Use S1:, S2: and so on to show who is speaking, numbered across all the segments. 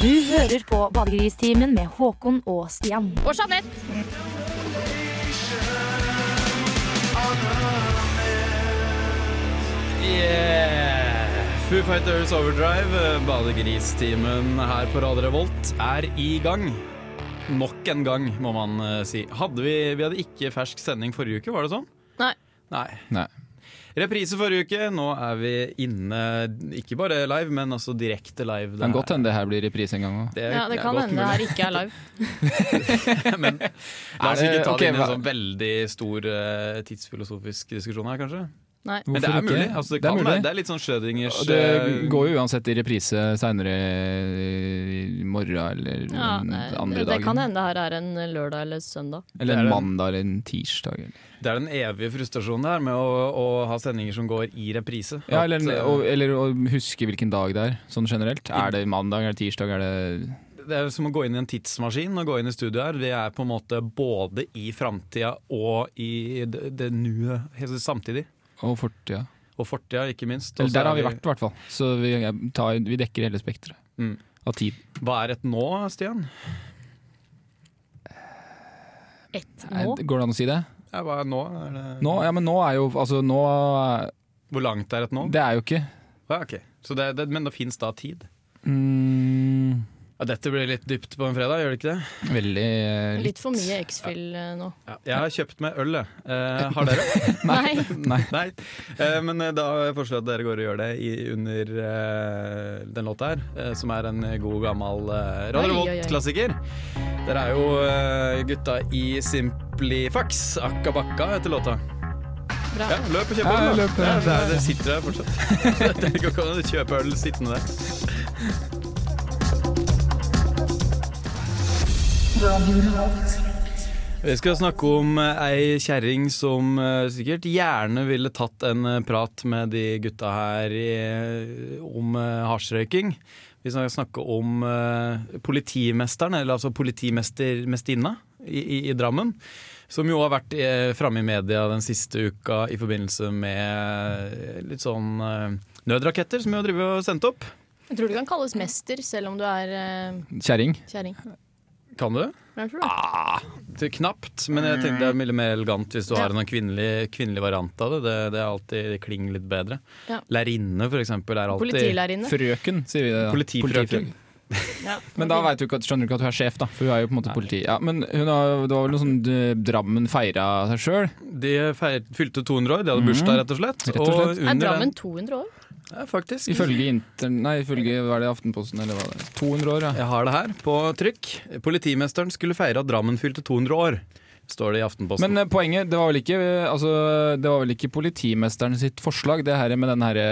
S1: hører på Badegristimen med Håkon og Stian.
S2: Og Jeanette.
S3: Yeah. eh, Foo Fighters Overdrive, eh, badegristimen her på Radio Revolt, er i gang. Nok en gang, må man eh, si. Hadde vi, vi hadde ikke fersk sending forrige uke, var det sånn?
S2: Nei.
S3: Nei.
S4: Nei.
S3: Reprise forrige uke. Nå er vi inne, ikke bare live, men altså direkte live.
S4: Det kan godt hende det her blir reprise en gang òg.
S3: Det er-
S2: Ja, det
S3: er
S2: kan
S3: godt
S2: hende det
S3: mulig.
S2: her ikke er live.
S3: Men la oss
S4: Er det-
S3: ikke ta
S4: ok,
S3: det inn i en
S4: hva-
S3: sånn veldig stor eh, tidsfilosofisk diskusjon her, kanskje.
S2: Nei.
S3: Men det er mulig. Altså, det,
S4: det,
S3: kan
S4: er
S3: være-
S4: mulig.
S3: det er litt sånn Schrødingers
S4: Og det går jo uansett i reprise seinere i morgen eller
S2: Ja,
S4: den
S2: nei,
S4: andre
S2: det kan
S4: dagen.
S2: hende det her er en eh, lørdag eller søndag.
S3: Det er det.
S4: Eller en mandag eller en tirsdag. Eller.
S3: Det er den evige frustrasjonen der med å, å ha sendinger som går i reprise.
S4: Ja,
S3: At,
S4: eller,
S3: eh,
S4: og, eller å huske hvilken dag det er, sånn generelt. Er det mandag, er det tirsdag, er det
S3: det er som å gå inn i en tidsmaskin og gå inn i studio her. Vi er på en måte både i framtida og i det, det nuet helt samtidig.
S4: Og fortida.
S3: Og fortida, ikke minst. Og
S4: Eller
S3: så
S4: der
S3: er
S4: har vi vært, i hvert fall. Så vi, tar, vi dekker hele spekteret
S3: Mm.
S4: av tid.
S3: Hva er et nå, Stian?
S2: Ett
S4: Er-
S2: nå.
S4: Går det an å si det?
S3: Ja, hva er nå? Er det...
S4: Nå, ja, men nå er jo altså nå
S3: Hvor langt er et nå?
S4: Det er jo ikke
S3: Ja, ok. Så det, det, men det fins da tid?
S4: mm,
S3: Ja, dette blir litt dypt på en fredag, gjør det ikke det?
S4: veldig eh,
S2: Litt for mye X-Fill eh, nå.
S3: Ja. Jeg har kjøpt meg øl, jeg. Eh, har dere?
S2: Nei.
S4: Nei.
S3: Nei, eh, men eh, da foreslår jeg at dere går og gjør det i, under eh, den låta her, eh, som er en god gammel
S2: Oi,
S3: eh,
S2: oi,
S3: Radio
S2: oi.
S3: Revolt-klassiker. Dere er jo eh, gutta i Simplifax. Akka bakka heter låta.
S2: Bra.
S3: Ja, løp og kjøp
S4: Ja,
S3: øl, da.
S4: løp, ja.
S3: Ja, det er- Dere sitter der fortsatt. Dere kan ikke kjøpe øl sittende der. Vi skal snakke om eh, ei kjerring som eh, sikkert gjerne ville tatt en eh, prat med de gutta her i, om eh, hasjrøyking. Vi skal snakke om eh, politimesteren, eller altså politimestermestinna i, i, i Drammen. Som jo har vært eh, framme i media den siste uka i forbindelse med eh, litt sånn eh, nødraketter som vi har drevet og sendt opp.
S2: Jeg tror du kan kalles mester selv om du er eh,
S4: Kjerring.
S2: kjerring.
S3: Kan du?
S2: Jeg tror det.
S3: Det er Knapt, men jeg tenkte det
S2: Mm.
S3: er mye mer elegant hvis du har en kvinnelig, kvinnelig variant av det. Det, det er alltid det klinger litt bedre.
S2: Ja.
S3: Lærerinne, for eksempel, er alltid
S2: Politilærerinne.
S4: Frøken, sier vi det. da.
S3: Politifrøken.
S2: Ja.
S4: Men da vet du ikke, at- skjønner du ikke at hun er sjef, da. For hun er jo på en måte politi. Ja, men hun har, det var vel noe sånn eh, Drammen feira seg sjøl.
S3: De feir, fylte 200 år, de hadde bursdag, rett og slett.
S4: Mm. Rett og slett.
S2: Er Drammen 200 år?
S3: den Ja, faktisk.
S4: Ifølge intern... Nei, ifølge hva er det Aftenposten eller hva det er. 200 år, ja.
S3: Jeg har det her på trykk. Politimesteren skulle feire at Drammen fylte 200 år, står det i Aftenposten.
S4: Men eh, poenget, det var vel ikke eh, altså, Det var vel ikke politimesteren sitt forslag, det her med den herre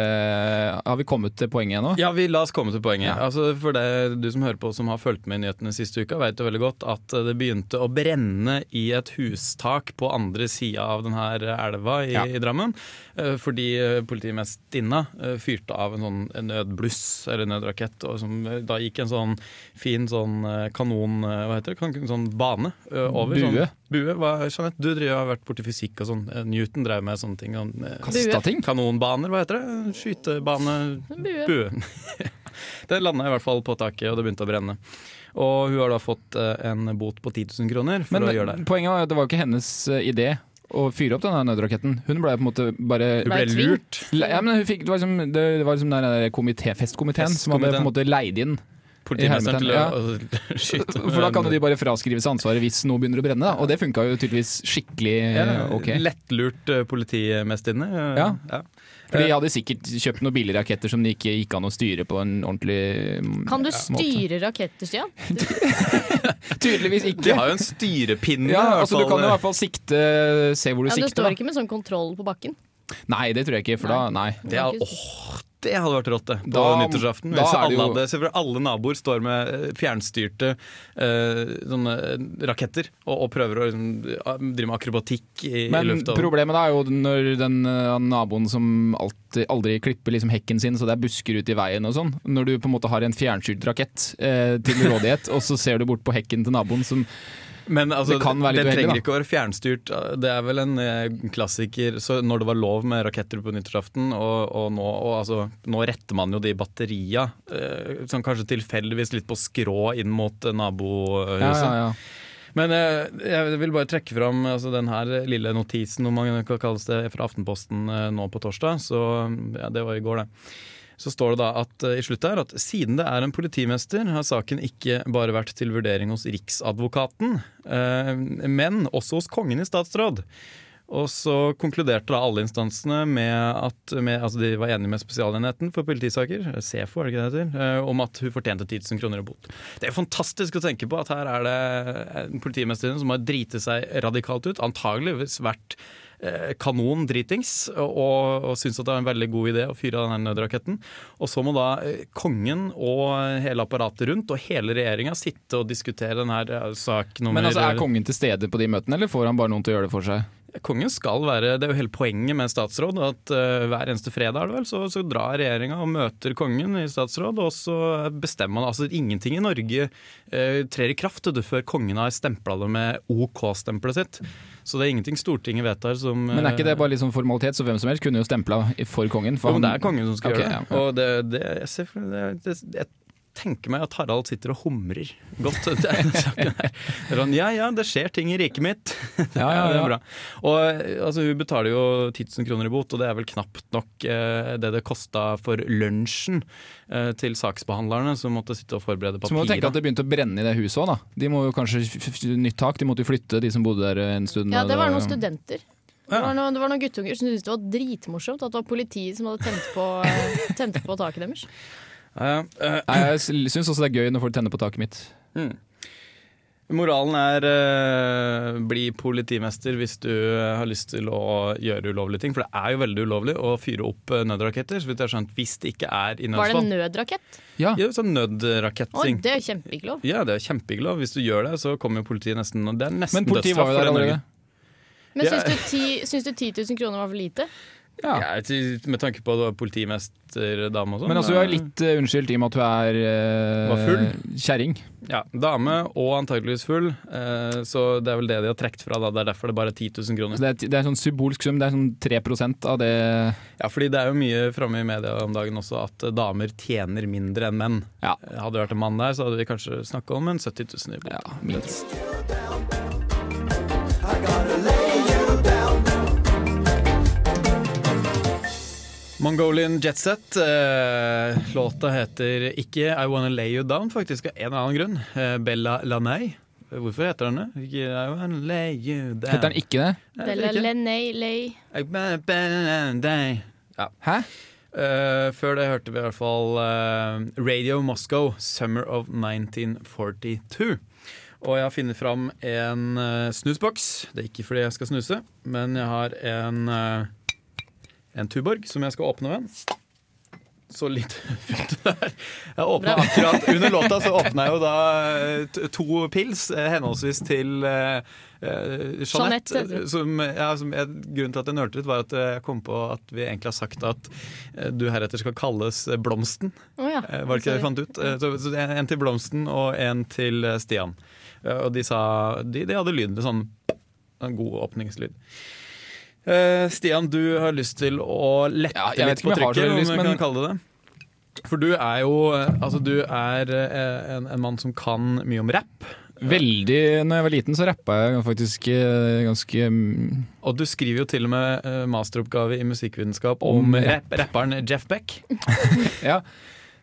S4: Har vi kommet til poenget ennå?
S3: ja, vi La oss komme til poenget.
S4: Ja.
S3: Altså, for det, Du som hører på som har fulgt med i nyhetene siste uka, vet jo veldig godt at det begynte å brenne i et hustak på andre sida av denne elva i,
S4: Ja.
S3: i Drammen. eh, Fordi eh, politimesterinna eh, fyrte av en sånn nødbluss eller nødrakett. Og som, eh, da gikk en sånn fin sånn eh, kanon... eh, Hva heter det? Kan- Sånn bane eh, over.
S4: Bue.
S3: Sånn, bue. Hva, Jeanette, du driver, har vært borti fysikk og sånn. Eh, Newton drev med sånne ting. og, eh,
S4: Kasta ting?
S3: Kanonbaner, hva heter det? Skytebane...
S2: En bue.
S3: Buen. det landa i hvert fall på taket, og det begynte å brenne. Og hun har da fått eh, en bot på 10 000 kroner for
S4: Men
S3: å gjøre det. her.
S4: poenget var jo at det var jo ikke hennes eh, idé å fyre opp den her nødraketten. Hun ble på en måte bare
S3: Hun ble
S2: Ble tvunget.
S3: lurt.
S4: ja, men hun fikk, det var liksom, det var liksom den der komité, festkomiteen som hadde på en måte leid inn.
S3: Politimesteren til å
S4: Ja.
S3: å skyte.
S4: For da kan jo de bare fraskrive seg ansvaret hvis noe begynner å brenne. Da. Og det funka jo tydeligvis skikkelig
S3: ja,
S4: eh, ok.
S3: Lettlurt eh, politimesterinne. eh,
S4: Ja.
S3: ja.
S4: For de hadde sikkert kjøpt noen billige raketter som det ikke gikk an å styre på en ordentlig mm,
S2: Kan du
S4: måte.
S2: styre raketter, Stian?
S4: Tydeligvis
S3: De
S4: ikke.
S3: har jo en styrepinne.
S4: Ja,
S3: i hvert
S4: altså Du
S3: fall. eh,
S4: kan jo i hvert fall sikte Se hvor du
S2: Ja, du
S4: sikter.
S2: står
S4: Da.
S2: ikke med sånn kontroll på bakken.
S4: Nei, det tror jeg ikke, for da Nei.
S3: det, er- åh, det hadde vært rått, det. På
S4: Da-
S3: nyttårsaften.
S4: da
S3: Hvis
S4: er det
S3: alle,
S4: jo-
S3: hadde, se for deg alle naboer står med eh, fjernstyrte eh, sånne eh, raketter og, og prøver å liksom, drive med akrobatikk i, i
S4: Men
S3: lufta.
S4: problemet da er jo når den eh, naboen som alltid, aldri klipper liksom hekken sin, så det er busker ute i veien og sånn. Når du på en måte har en fjernstyrt rakett eh, til rådighet, og så ser du bort på hekken til naboen som
S3: Men altså,
S4: Det kan være litt
S3: den
S4: uheldig,
S3: trenger
S4: da.
S3: ikke å være fjernstyrt. Det er vel en eh, klassiker så når det var lov med raketter på nyttårsaften, og, og, nå, og altså, nå retter man jo de batteria, eh, sånn kanskje tilfeldigvis litt på skrå inn mot eh, nabohuset.
S4: Ja, ja, ja.
S3: Men eh, jeg vil bare trekke fram altså, den her lille notisen, om man kan kalles det, fra Aftenposten eh, nå på torsdag. Så ja, Det var i går, det. Så står det da at eh, i slutt her at siden det er en politimester, har saken ikke bare vært til vurdering hos Riksadvokaten, eh, men også hos Kongen i statsråd. Og så konkluderte da alle instansene med at med, altså de var enige med Spesialenheten for politisaker, SEFO, er det ikke det det heter, eh, om at hun fortjente 10 000 kroner i bot. Det er jo fantastisk å tenke på at her er det politimesteren som har driti seg radikalt ut, antageligvis vært eh, kanon dritings, og, og syns at det er en veldig god idé å fyre av den her nødraketten. Og så må da eh, kongen og hele apparatet rundt og hele regjeringa sitte og diskutere den her eh, sak nummer
S4: Men altså, er kongen til stede på de møtene, eller får han bare noen til å gjøre det for seg?
S3: Kongen skal være, Det er jo hele poenget med statsråd. at eh, Hver eneste fredag er det vel, så, så drar regjeringa og møter kongen i statsråd. Og så bestemmer han altså Ingenting i Norge eh, trer i kraft vet du, før kongen har stempla det med OK-stempelet sitt. Så det er ingenting Stortinget vedtar som
S4: Men er ikke det
S3: eh,
S4: bare litt sånn formalitet, så hvem som helst kunne jo stempla for kongen? For
S3: jo, men det
S4: han-
S3: er kongen som skal
S4: Ok,
S3: gjøre det.
S4: ja.
S3: Og det, det, jeg, ser, for- det, det, jeg tenker meg at Harald sitter og humrer godt. til den saken her. Det er sånn, ja ja, det skjer ting i riket mitt.
S4: Ja, ja,
S3: det
S4: ja.
S3: er bra. Og altså, Hun betaler jo 10 000 kroner i bot, og det er vel knapt nok eh, det det kosta for lunsjen eh, til saksbehandlerne som måtte sitte og forberede
S4: Så må du tenke at
S3: papirer.
S4: det begynte å brenne i det huset òg, da. De må jo kanskje f f nytt tak, de måtte jo flytte, de som bodde der eh, en stund.
S2: Ja, det var noen
S4: jo-
S2: studenter. Det
S3: Ja.
S2: var noen, det var noen guttunger som syntes det var dritmorsomt at det var politiet som hadde tent på, eh, tent på taket deres.
S3: Ja, ja. Eh,
S4: Nei, jeg syns også det er gøy når folk tenner på taket mitt.
S3: Mm. Moralen er eh, bli politimester hvis du eh, har lyst til å gjøre ulovlige ting. For det er jo veldig ulovlig å fyre opp eh, nødraketter, så vidt jeg har skjønt, hvis det ikke
S2: Var
S3: er i
S2: det en
S3: nødsfall.
S2: nødrakett?
S4: Ja,
S3: Ja, sånn
S2: Å,
S3: nødraketting.
S2: det er kjempeglow.
S3: Ja, det er kjempeglad. Hvis du gjør det, så kommer jo politiet nesten og Det er nesten
S4: Men politiet var jo
S3: dødsstraff
S4: der
S3: for det i
S4: allerede.
S3: Norge.
S2: Men
S3: Ja.
S2: syns du, ti, syns du 10 000 kroner var for lite?
S4: Ja.
S3: Ja, til- med tanke på at du var politimesterdame og sånn.
S4: Men altså, hun er
S3: eh,
S4: litt eh, unnskyldt i og med at hun er eh,
S3: Var
S4: kjerring.
S3: Ja, Dame og antakeligvis full, eh, så det er vel det de har trukket fra. da Det er derfor det er bare 10 000 kroner.
S4: Så Det, er- det er en sånn symbolsk sum, det er sånn 3 av det
S3: Ja, fordi det er jo mye framme i media om dagen også at damer tjener mindre enn menn.
S4: Ja.
S3: Hadde det vært en mann der, så hadde vi kanskje snakka om en 70 000 i bot.
S4: Ja, minst.
S3: Mongolian Jetset. Eh, låta heter ikke I Wanna Lay You Down, faktisk, av en eller annen grunn. Eh, Bella Lanei. Hvorfor heter den det? Ikke I Wanna Lay You Down.
S4: Heter han ikke det?
S3: Nei, det
S2: Bella
S3: er ikke.
S2: Lenei Lei.
S3: I wanna Bella Lanei.
S4: Hæ?
S3: Eh, før det hørte vi i hvert fall eh, Radio Moscow, Summer of 1942. Og jeg har funnet fram en eh, snusboks. Det er ikke fordi jeg skal snuse, men jeg har en, eh, en Tuborg som jeg skal åpne med. Så litt fylt der. Jeg åpna
S2: Bra.
S3: akkurat under låta så åpna jeg jo da eh, t- to pils, eh, henholdsvis til eh, eh,
S2: Jeanette,
S3: Jeanette.
S2: heter det.
S3: Som, ja, som jeg, grunnen til at jeg nølte litt, var at eh, jeg kom på at vi egentlig har sagt at eh, du heretter skal kalles eh, Blomsten.
S2: Å ja.
S3: Eh, Var det ikke det vi fant ut? Eh, Så, så det er en til Blomsten og en til eh, Stian. Eh, Og de sa De, de hadde lyden sånn en god åpningslyd. Eh, Stian, du har lyst til å lette
S4: Ja, jeg vet
S3: litt
S4: ikke
S3: på
S4: om jeg har
S3: trykket,
S4: så
S3: om
S4: lyst,
S3: vi
S4: men-
S3: kan kalle det det. For du er jo eh, altså, du er eh, en, en mann som kan mye om rapp.
S4: Veldig Når jeg var liten, så rappa jeg faktisk eh, ganske mm,
S3: Og du skriver jo til og med eh, masteroppgave i musikkvitenskap om,
S4: Om rapp.
S3: rapp, rapperen Jeff Beck.
S4: Ja.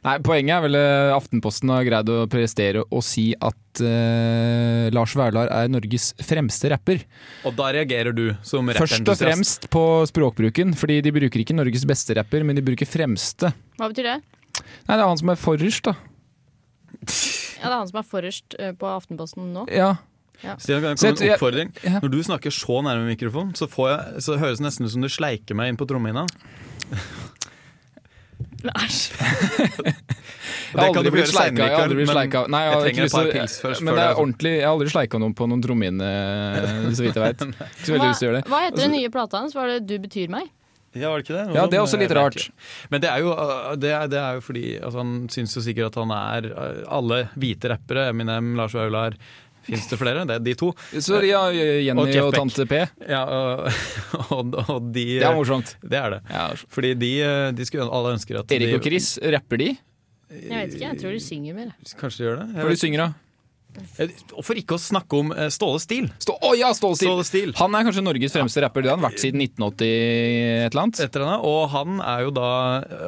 S4: Nei, Poenget er vel eh, Aftenposten har greid å prestere å si at eh, Lars Vaular er Norges fremste rapper.
S3: Og da reagerer du som
S4: Først og
S3: rappentusiast.
S4: fremst på språkbruken, fordi de bruker ikke Norges beste rapper, men de bruker fremste.
S2: Hva betyr det?
S4: Nei, det er han som er forrest, da.
S2: Ja, det er han som er forrest eh, på Aftenposten nå.
S4: Ja.
S3: Stian, kan jeg
S4: Så
S3: komme
S4: jeg-
S3: med en oppfordring?
S4: ja.
S3: Når du snakker så nærme mikrofonen, så, får jeg, så høres det nesten ut som du sleiker meg inn på trommehinna.
S2: Æsj.
S4: Jeg har
S3: Det kan du
S4: aldri
S3: få
S4: blitt
S3: gjøre
S4: sleika.
S3: senere,
S4: Jeg har aldri blitt
S3: men
S4: sleika. Nei, jeg,
S3: jeg
S4: har ikke
S3: trenger et
S4: lyst til
S3: par
S4: å-
S3: pils først
S4: Men
S3: før
S4: det
S3: det,
S4: er
S3: altså.
S4: ordentlig, jeg har aldri sleika noen på noen trommehinne, så vidt jeg vet. Ikke så veldig
S2: Hva,
S4: lyst til å gjøre det.
S2: hva heter den
S3: Altså-
S2: nye plata hans? Var det Du betyr meg?
S3: Ja, var det ikke det? Noe
S4: Ja, det er
S3: sånn,
S4: også litt
S3: eh,
S4: rart.
S3: merkelig. Men det er jo, eh, det er, det er jo ah, fordi altså, han syns jo sikkert at han er eh, Alle hvite rappere, Eminem, Lars Vaular, Fins det flere? Det er de to.
S4: Så ja, Jenny
S3: Og Jeff
S4: og
S3: Beck.
S4: tante P.
S3: Ja, og, og, og de eh,
S4: Det er morsomt.
S3: Det er det.
S4: Ja.
S3: Fordi de, eh, de skulle alle ønsker at
S4: Erik og
S3: de,
S4: Chris, rapper de?
S2: Jeg vet ikke, jeg tror
S3: Eh,
S2: de synger mer. jeg.
S3: Kanskje de gjør det? Jeg
S4: Hva de
S3: vet-
S4: synger da?
S3: Jeg- Og for ikke å snakke om eh, Ståle Stil.
S4: Stå, å ja, Ståle Stil!
S3: Ståle Stil.
S4: Han er kanskje Norges fremste rapper. Det har han vært siden 1980 et eller annet.
S3: Etter henne, og han er jo da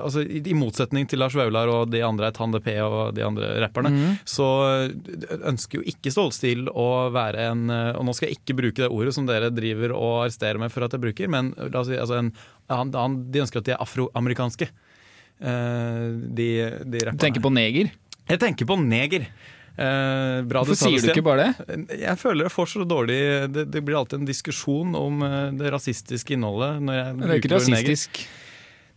S3: altså, I i motsetning til Lars Vaular og de andre Tande P og de andre rapperne,
S4: Mm.
S3: så eh, ønsker jo ikke Ståle Stil å være en eh, Og nå skal jeg ikke bruke det ordet som dere driver og arresterer meg for at jeg bruker, men la oss si, altså en, han, han, de ønsker at de er afroamerikanske. eh, de, de
S4: Du
S3: rapperne.
S4: tenker på neger.
S3: Jeg tenker på neger. Eh, bra
S4: Hvorfor
S3: sa det,
S4: sier du
S3: Stian.
S4: ikke bare det?
S3: Jeg føler det får så dårlig Det, det blir alltid en diskusjon om eh, det rasistiske innholdet. Når jeg
S4: Det er ikke
S3: bruker ordet neger.
S4: rasistisk.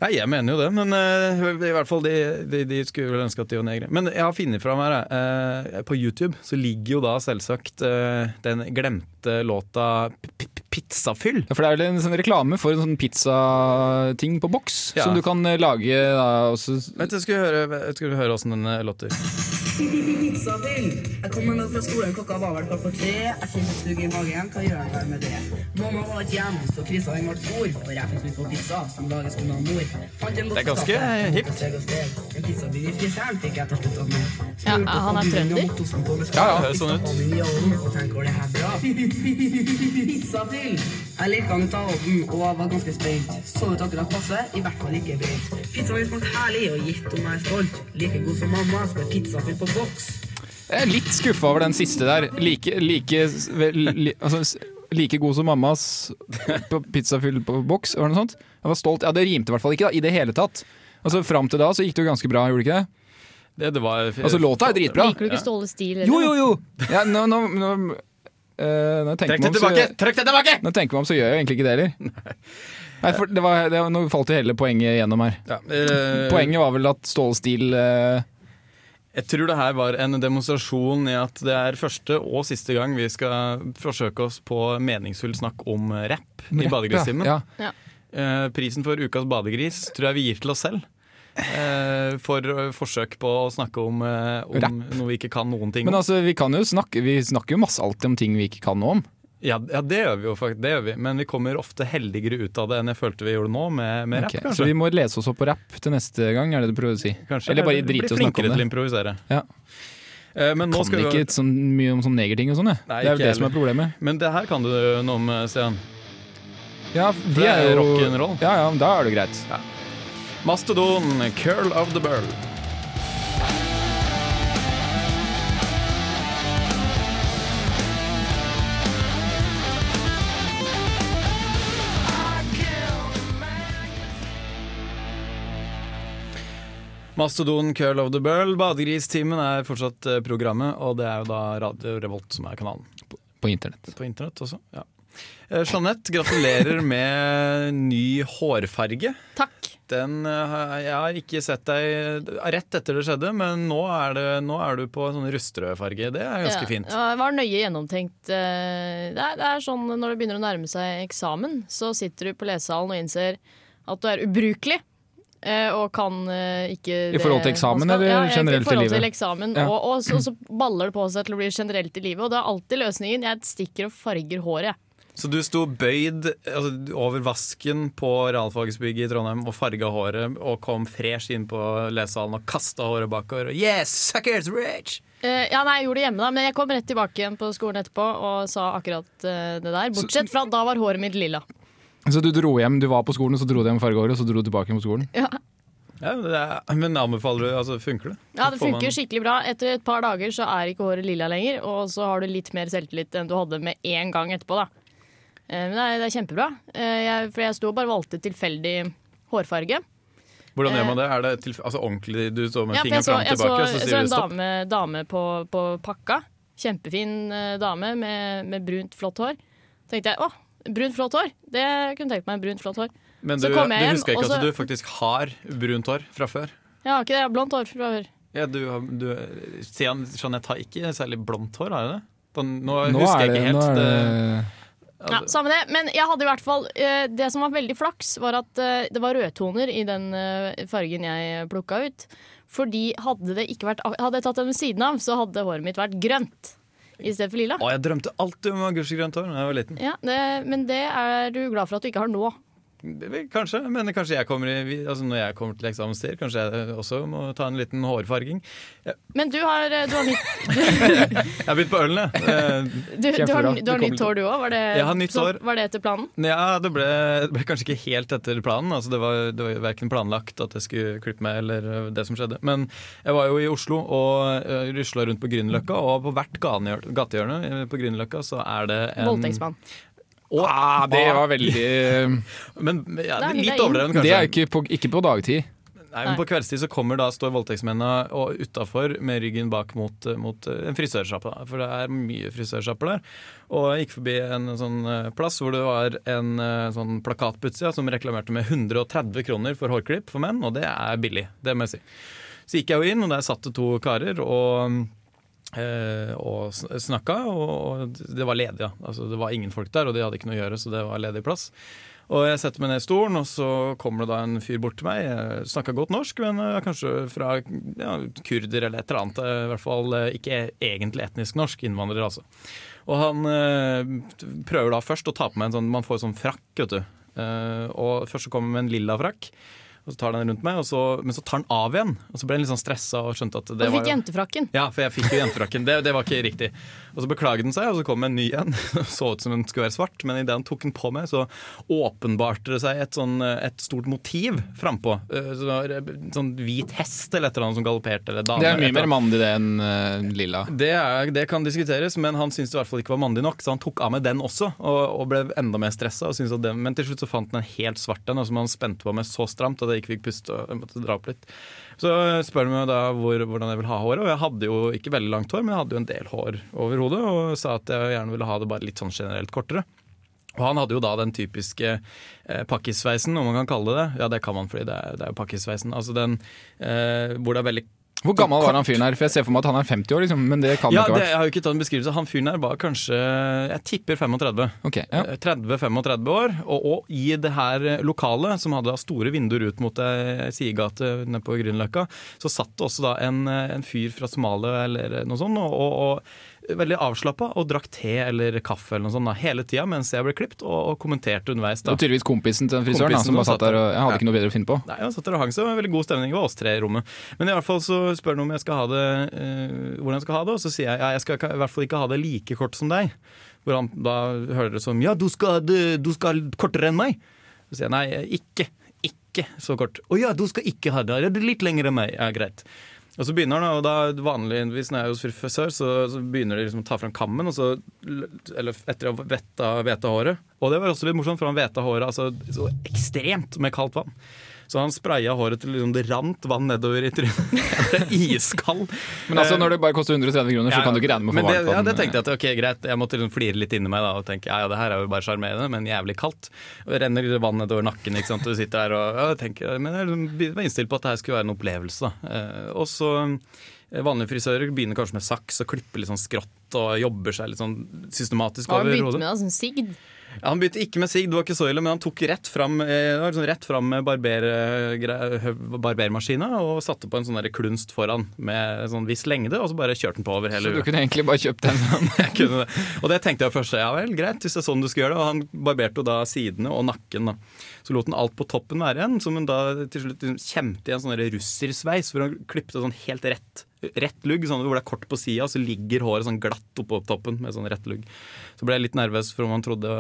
S3: Nei, jeg mener jo det, men eh, i hvert fall de, de, de skulle vel ønske at de var negre. Men jeg har funnet fram her. eh, på YouTube så ligger jo da selvsagt eh, den glemte låta P- P- Pizzafyll.
S4: Ja, For det er vel en sånn reklame for en sånn pizzating på boks
S3: Ja.
S4: som du kan eh, lage da, og så
S3: Vent, jeg skulle høre, jeg skulle høre åssen den eh, låter.
S5: Pizzafyll. Jeg kommer nå fra skolen, klokka var vel kvart på tre. Jeg kjente sug i magen, hva gjør jeg med det? Mamma var ikke hjemme, så krisa den ble stor. For jeg fikk sug på pizza som lages under mor. Fant en
S3: Det er ganske hipt.
S5: En pizzabil i fryseren fikk jeg til slutt av meg.
S2: Ja, han er trønder.
S3: Ja, ja, høres sånn ut.
S5: Og tenk, går det her bra? Pizzafyll. Jeg lekte han ut av ovnen og jeg var ganske spent. Så ut akkurat passe, i hvert fall ikke brent. Pizzaen min smakte herlig, og gitt om jeg er stolt. Like god som mamma, så er pizzafyll på boks.
S4: Jeg er litt skuffa over den siste der. Like, like, vel, li, altså, s- like god som mammas på pizzafyll på boks, var det noe sånt? Jeg var stolt. Ja, det rimte i hvert fall ikke da, i det hele tatt. Altså, Fram til da så gikk det jo ganske bra, gjorde det ikke det?
S3: Det, det var eh,
S4: Altså, Låta er dritbra.
S2: Liker du ikke Ståle Stil?
S4: Jo, jo, jo! Ja, nå, nå, nå, eh, når jeg
S3: Trekk
S4: tenker meg
S3: det
S4: om, så-
S3: tilbake! Trekk det tilbake!
S4: Når jeg tenker meg om, så gjør jeg jo egentlig ikke det heller. Nei, for det var, det, var- Nå falt jo hele poenget gjennom her.
S3: Ja, eh,
S4: Poenget var vel at Ståle Stil eh,
S3: Jeg tror det her var en demonstrasjon i at det er første og siste gang vi skal forsøke oss på meningsfull snakk om rapp i Badegristimen.
S4: Ja.
S3: Eh, Prisen for ukas badegris tror jeg vi gir til oss selv. eh, For eh, forsøk på å snakke om, eh, om noe vi ikke kan noen ting
S4: Men
S3: om.
S4: altså, vi kan jo snakke Vi snakker jo masse alltid om ting vi ikke kan noe om.
S3: Ja, ja, det gjør vi jo faktisk. Det gjør vi. Men vi kommer ofte heldigere ut av det enn jeg følte vi gjorde nå, med, med
S4: Ok,
S3: rapp,
S4: Så
S3: kanskje.
S4: vi må lese oss opp på rapp til neste gang, er det du prøver å si?
S3: kanskje.
S4: Eller bare
S3: Eller
S4: drite i
S3: bli
S4: å snakke
S3: flinkere til
S4: om
S3: å
S4: det?
S3: improvisere.
S4: Ja.
S3: Eh, Men, nå
S4: Kan
S3: skal vi,
S4: ikke så mye om sånn negerting og sånn, jeg.
S3: Nei,
S4: det er
S3: ikke
S4: jo det som er problemet.
S3: men det her kan du noe om, Stian.
S4: Ja,
S3: det er jo rock'n'roll.
S4: Ja, ja, men da er det greit.
S3: Mastodon, curl of the burl. Mastodon, curl of the burl. Badegristimen er fortsatt eh, programmet, og det er jo da Radio Revolt som er kanalen
S4: På internett.
S3: på internett også. Ja. Eh, Jeanette, gratulerer med ny hårfarge.
S2: Takk.
S3: Den eh, har- Jeg har ikke sett deg eh, rett etter det skjedde, men nå er, det, nå er du på sånn rustrød farge. Det er ganske
S2: Ja,
S3: fint.
S2: ja, Det var nøye gjennomtenkt. Eh, Det er, det er sånn når det begynner å nærme seg eksamen, så sitter du på lesesalen og innser at du er ubrukelig. eh, Og kan eh, ikke
S4: I forhold til
S2: det-
S4: eksamen,
S2: man skal-
S4: eller
S2: ja, ja, i
S4: generelt i
S2: forhold til
S4: livet?
S2: eksamen.
S4: Ja.
S2: Og, og, så, og så baller det på seg til å bli generelt i livet. Og det er alltid løsningen. Jeg stikker og farger håret. jeg.
S3: Så du sto bøyd altså, over vasken på realfagsbygget i Trondheim og farga håret og kom fresh inn på lesesalen og kasta håret bakover. Og yes, suckers rich!
S2: Eh, ja, nei, jeg gjorde det hjemme, da, men jeg kom rett tilbake igjen på skolen etterpå og sa akkurat eh, det der. Bortsett fra at da var håret mitt lilla.
S4: Så du dro hjem, du var på skolen, så dro du hjem fargehåret, og så dro du tilbake på skolen?
S3: Ja, men det er, men anbefaler du altså, Funker det?
S2: Ja, det
S3: Får man-
S2: funker skikkelig bra. Etter et par dager så er ikke håret lilla lenger, og så har du litt mer selvtillit enn du hadde med en gang etterpå, da. Eh, Men det er, det er kjempebra. Eh, Jeg, for jeg sto og bare valgte tilfeldig hårfarge.
S3: Hvordan gjør man det? Er det til, altså, ordentlig du står med
S2: Eh, Ja, for
S3: fingeren
S2: jeg så,
S3: fram og
S2: jeg så,
S3: tilbake, og så
S2: jeg så
S3: sier
S2: en
S3: du stopp?
S2: dame, dame på, på pakka. Kjempefin eh, dame med, med brunt, flott hår. Så tenkte jeg åh, brunt, flott hår! Det jeg kunne tenkt meg. brunt, flott hår.
S3: Men du,
S2: Så
S3: du
S2: kom jeg hjem,
S3: husker ikke
S2: og så-
S3: at du faktisk har brunt hår fra før?
S2: Jeg har ikke det, jeg har blondt hår fra før.
S3: Ja, du, har- du, Stian, Jeanette har ikke særlig blondt hår, har hun det? Da- Nå,
S4: Nå
S3: husker
S4: er
S3: jeg
S4: det,
S3: ikke helt. eh.
S4: nå er det
S3: det-
S2: Ja, samme det. Men jeg hadde i hvert fall eh, Det som var veldig flaks, var at eh, det var rødtoner i den eh, fargen jeg plukka ut. Fordi hadde, det ikke vært, hadde jeg tatt den ved siden av, så hadde håret mitt vært grønt. i stedet for lilla.
S3: Å, jeg drømte alltid om agurkegrønt hår da jeg var liten.
S2: Ja, det, men det er du glad for at du ikke har nå.
S3: Kanskje, men kanskje jeg kommer i, vi- altså når jeg kommer til eksamenstid, kanskje jeg eh, også må ta en liten hårfarging.
S2: Men du har, eh, du har, nytt,
S3: Jeg har begynt på ølen, jeg. Eh,
S2: du, du har,
S4: Kjempebra.
S2: du har
S4: Du
S2: nytt hår, du òg? Var, det-
S3: Jeg har nytt
S2: så-
S3: hår.
S2: var det etter planen?
S3: Ja, det ble, det ble kanskje ikke helt etter planen. Altså det var, det var verken planlagt at jeg skulle klippe meg, eller eh, det som skjedde. Men jeg var jo i Oslo og uh, rusla rundt på Grünerløkka, og på hvert ganehjør- gatehjørne eh, på Grünerløkka så er det en
S2: Voldtektsmann.
S4: Ah, det var veldig eh,
S3: Men ja,
S2: Det er- det er
S3: litt
S2: inn.
S3: overdreven, kanskje.
S4: Det er ikke på, ikke på dagtid.
S3: Nei, men På kveldstid så kommer da, står voldtektsmennene og utafor med ryggen bak mot, mot eh, en frisørsjappe. da, For det er mye frisørsjapper der. Og jeg gikk forbi en sånn eh, plass hvor det var en eh, sånn plakat på utsida som reklamerte med 130 kroner for hårklipp for menn, og det er billig. Det må jeg si. Så gikk jeg jo inn, og der satt det to karer. og... mm, eh, Og sn- snakka, og og det var ledig. ja. Altså, det var ingen folk der, og de hadde ikke noe å gjøre, så det var ledig plass. Og jeg setter meg ned i stolen, og så kommer det da en fyr bort til meg. Jeg Snakka godt norsk, men eh, kanskje fra ja, kurder eller et eller annet. eh, I hvert fall eh, ikke egentlig etnisk norsk. Innvandrer, altså. Og han eh, prøver da først å ta på meg en sånn Man får sånn frakk, vet du. Eh, og først så kommer han med en lilla frakk, og så tar den rundt meg, og så, men så tar han av igjen. Og så ble han litt sånn stressa og skjønte at
S2: Og
S3: det
S2: du fikk
S3: var jo
S2: jentefrakken.
S3: ja, for jeg fikk jo jentefrakken. Det, det var ikke riktig. Og så beklaget den seg, og så kom en ny en. Så ut som den skulle være svart, men idet han tok den på meg, så åpenbarte det seg et, sånn, et stort motiv frampå. Eh, Så, det var en sånn hvit hest eller et eller annet som galopperte, eller dame.
S4: Det er
S3: et
S4: mye
S3: eller
S4: mer
S3: annet.
S4: mandig det enn eh, lilla.
S3: det, er, det kan diskuteres, men han syntes det i hvert fall ikke var mandig nok, så han tok av meg den også. Og, og ble enda mer stressa. Og syntes at den- men til slutt så fant han en helt svart en, og som han spente på meg så stramt at jeg ikke fikk puste og jeg måtte dra opp litt. Så spør han meg da hvor, hvordan jeg vil ha håret, og jeg hadde jo ikke veldig langt hår, men jeg hadde jo en del hår over hodet, og sa at jeg gjerne ville ha det bare litt sånn generelt kortere. Og han hadde jo da den typiske eh, pakkisveisen, om man kan kalle det det. Ja, det kan man, fordi det er, det er jo pakkisveisen. Altså den eh, hvor det er veldig
S4: Hvor gammel var han fyren her? For jeg ser for meg at han er 50 år, liksom, men det kan
S3: ja,
S4: han
S3: det,
S4: ikke ha vært.
S3: jeg har jo ikke tatt en beskrivelse. Han fyren her var kanskje Jeg tipper 35.
S4: Ok, ja.
S3: Eh, 30-35 år. Og, og i det her eh, lokalet, som hadde da store vinduer ut mot ei sidegate nede på Grünerløkka, så satt det også da en, eh, en fyr fra Somalia eller noe sånt, og, og, og veldig avslappa og drakk te eller kaffe eller noe sånt da, hele tida mens jeg ble klipt, og, og kommenterte underveis.
S4: Det
S3: da.
S4: var tydeligvis kompisen til den frisøren da,
S3: Kompisen
S4: som bare
S3: som
S4: satt der og jeg
S3: Ja.
S4: hadde ikke noe bedre å finne på.
S3: Nei, han satt der og hang seg. Det var veldig god stemning. Det var oss tre i rommet. Men i hvert fall så spør han om jeg skal ha det, eh, hvordan jeg skal ha det, og så sier jeg ja, jeg skal ikke- i hvert fall ikke ha det like kort som deg. Hvor han da hører det som ja, du skal, ha det- du skal ha det kortere enn meg. Så sier jeg nei, ikke. Ikke så kort. Å ja, du skal ikke ha det. Ja, det er litt lenger enn meg. Ja, greit. Og så begynner han, og da vanligvis når jeg er hos frisør, så, så begynner de liksom å ta fram kammen, og så, eller etter å ha vetta, veta håret. Og det var også litt morsomt, for han veta håret altså, så ekstremt med kaldt vann. Så han spraya håret til liksom, det rant vann nedover i trynet. Det er iskald.
S4: Men altså, når det bare koster 130 kroner, så kan du ikke regne med å
S3: Men
S4: få
S3: det,
S4: varmt på
S3: Ja,
S4: den. eh.
S3: det tenkte jeg at ok, greit, jeg måtte liksom flire litt inni meg da og tenke ja, ja, det her er jo bare sjarmerende, men jævlig kaldt. Og det renner vann nedover nakken, ikke sant, og du sitter der og ja, jeg tenker Men jeg liksom var innstilt på at det her skulle være en opplevelse, da. Eh, Og så eh, Vanlige frisører begynner kanskje med saks og klipper litt sånn skrått og jobber seg litt sånn systematisk
S2: Har
S3: over
S2: du begynt
S3: hodet.
S2: med da, sånn sigd?
S3: Ja, han begynte ikke med sigg, det var ikke så ille, men han tok rett fram, eh, det var sånn rett fram med barber, eh, gre- hø- barbermaskina og satte på en sånn der klunst foran med sånn viss lengde, og så bare kjørte han på over hele
S4: Så du
S3: huet.
S4: kunne egentlig bare kjøpt den.
S3: Jeg kunne det. Og det tenkte jeg først, ja vel, greit, hvis det er sånn du skal gjøre det. Og han barberte jo da sidene og nakken, da. Så lot han alt på toppen være igjen, som hun da til slutt liksom kjemte i en sånn der russersveis, hvor han klippte sånn helt rett. Rett lugg, sånn hvor det er kort på sida, og så ligger håret sånn glatt oppå toppen med sånn rett lugg. Så ble jeg litt nervøs for om han trodde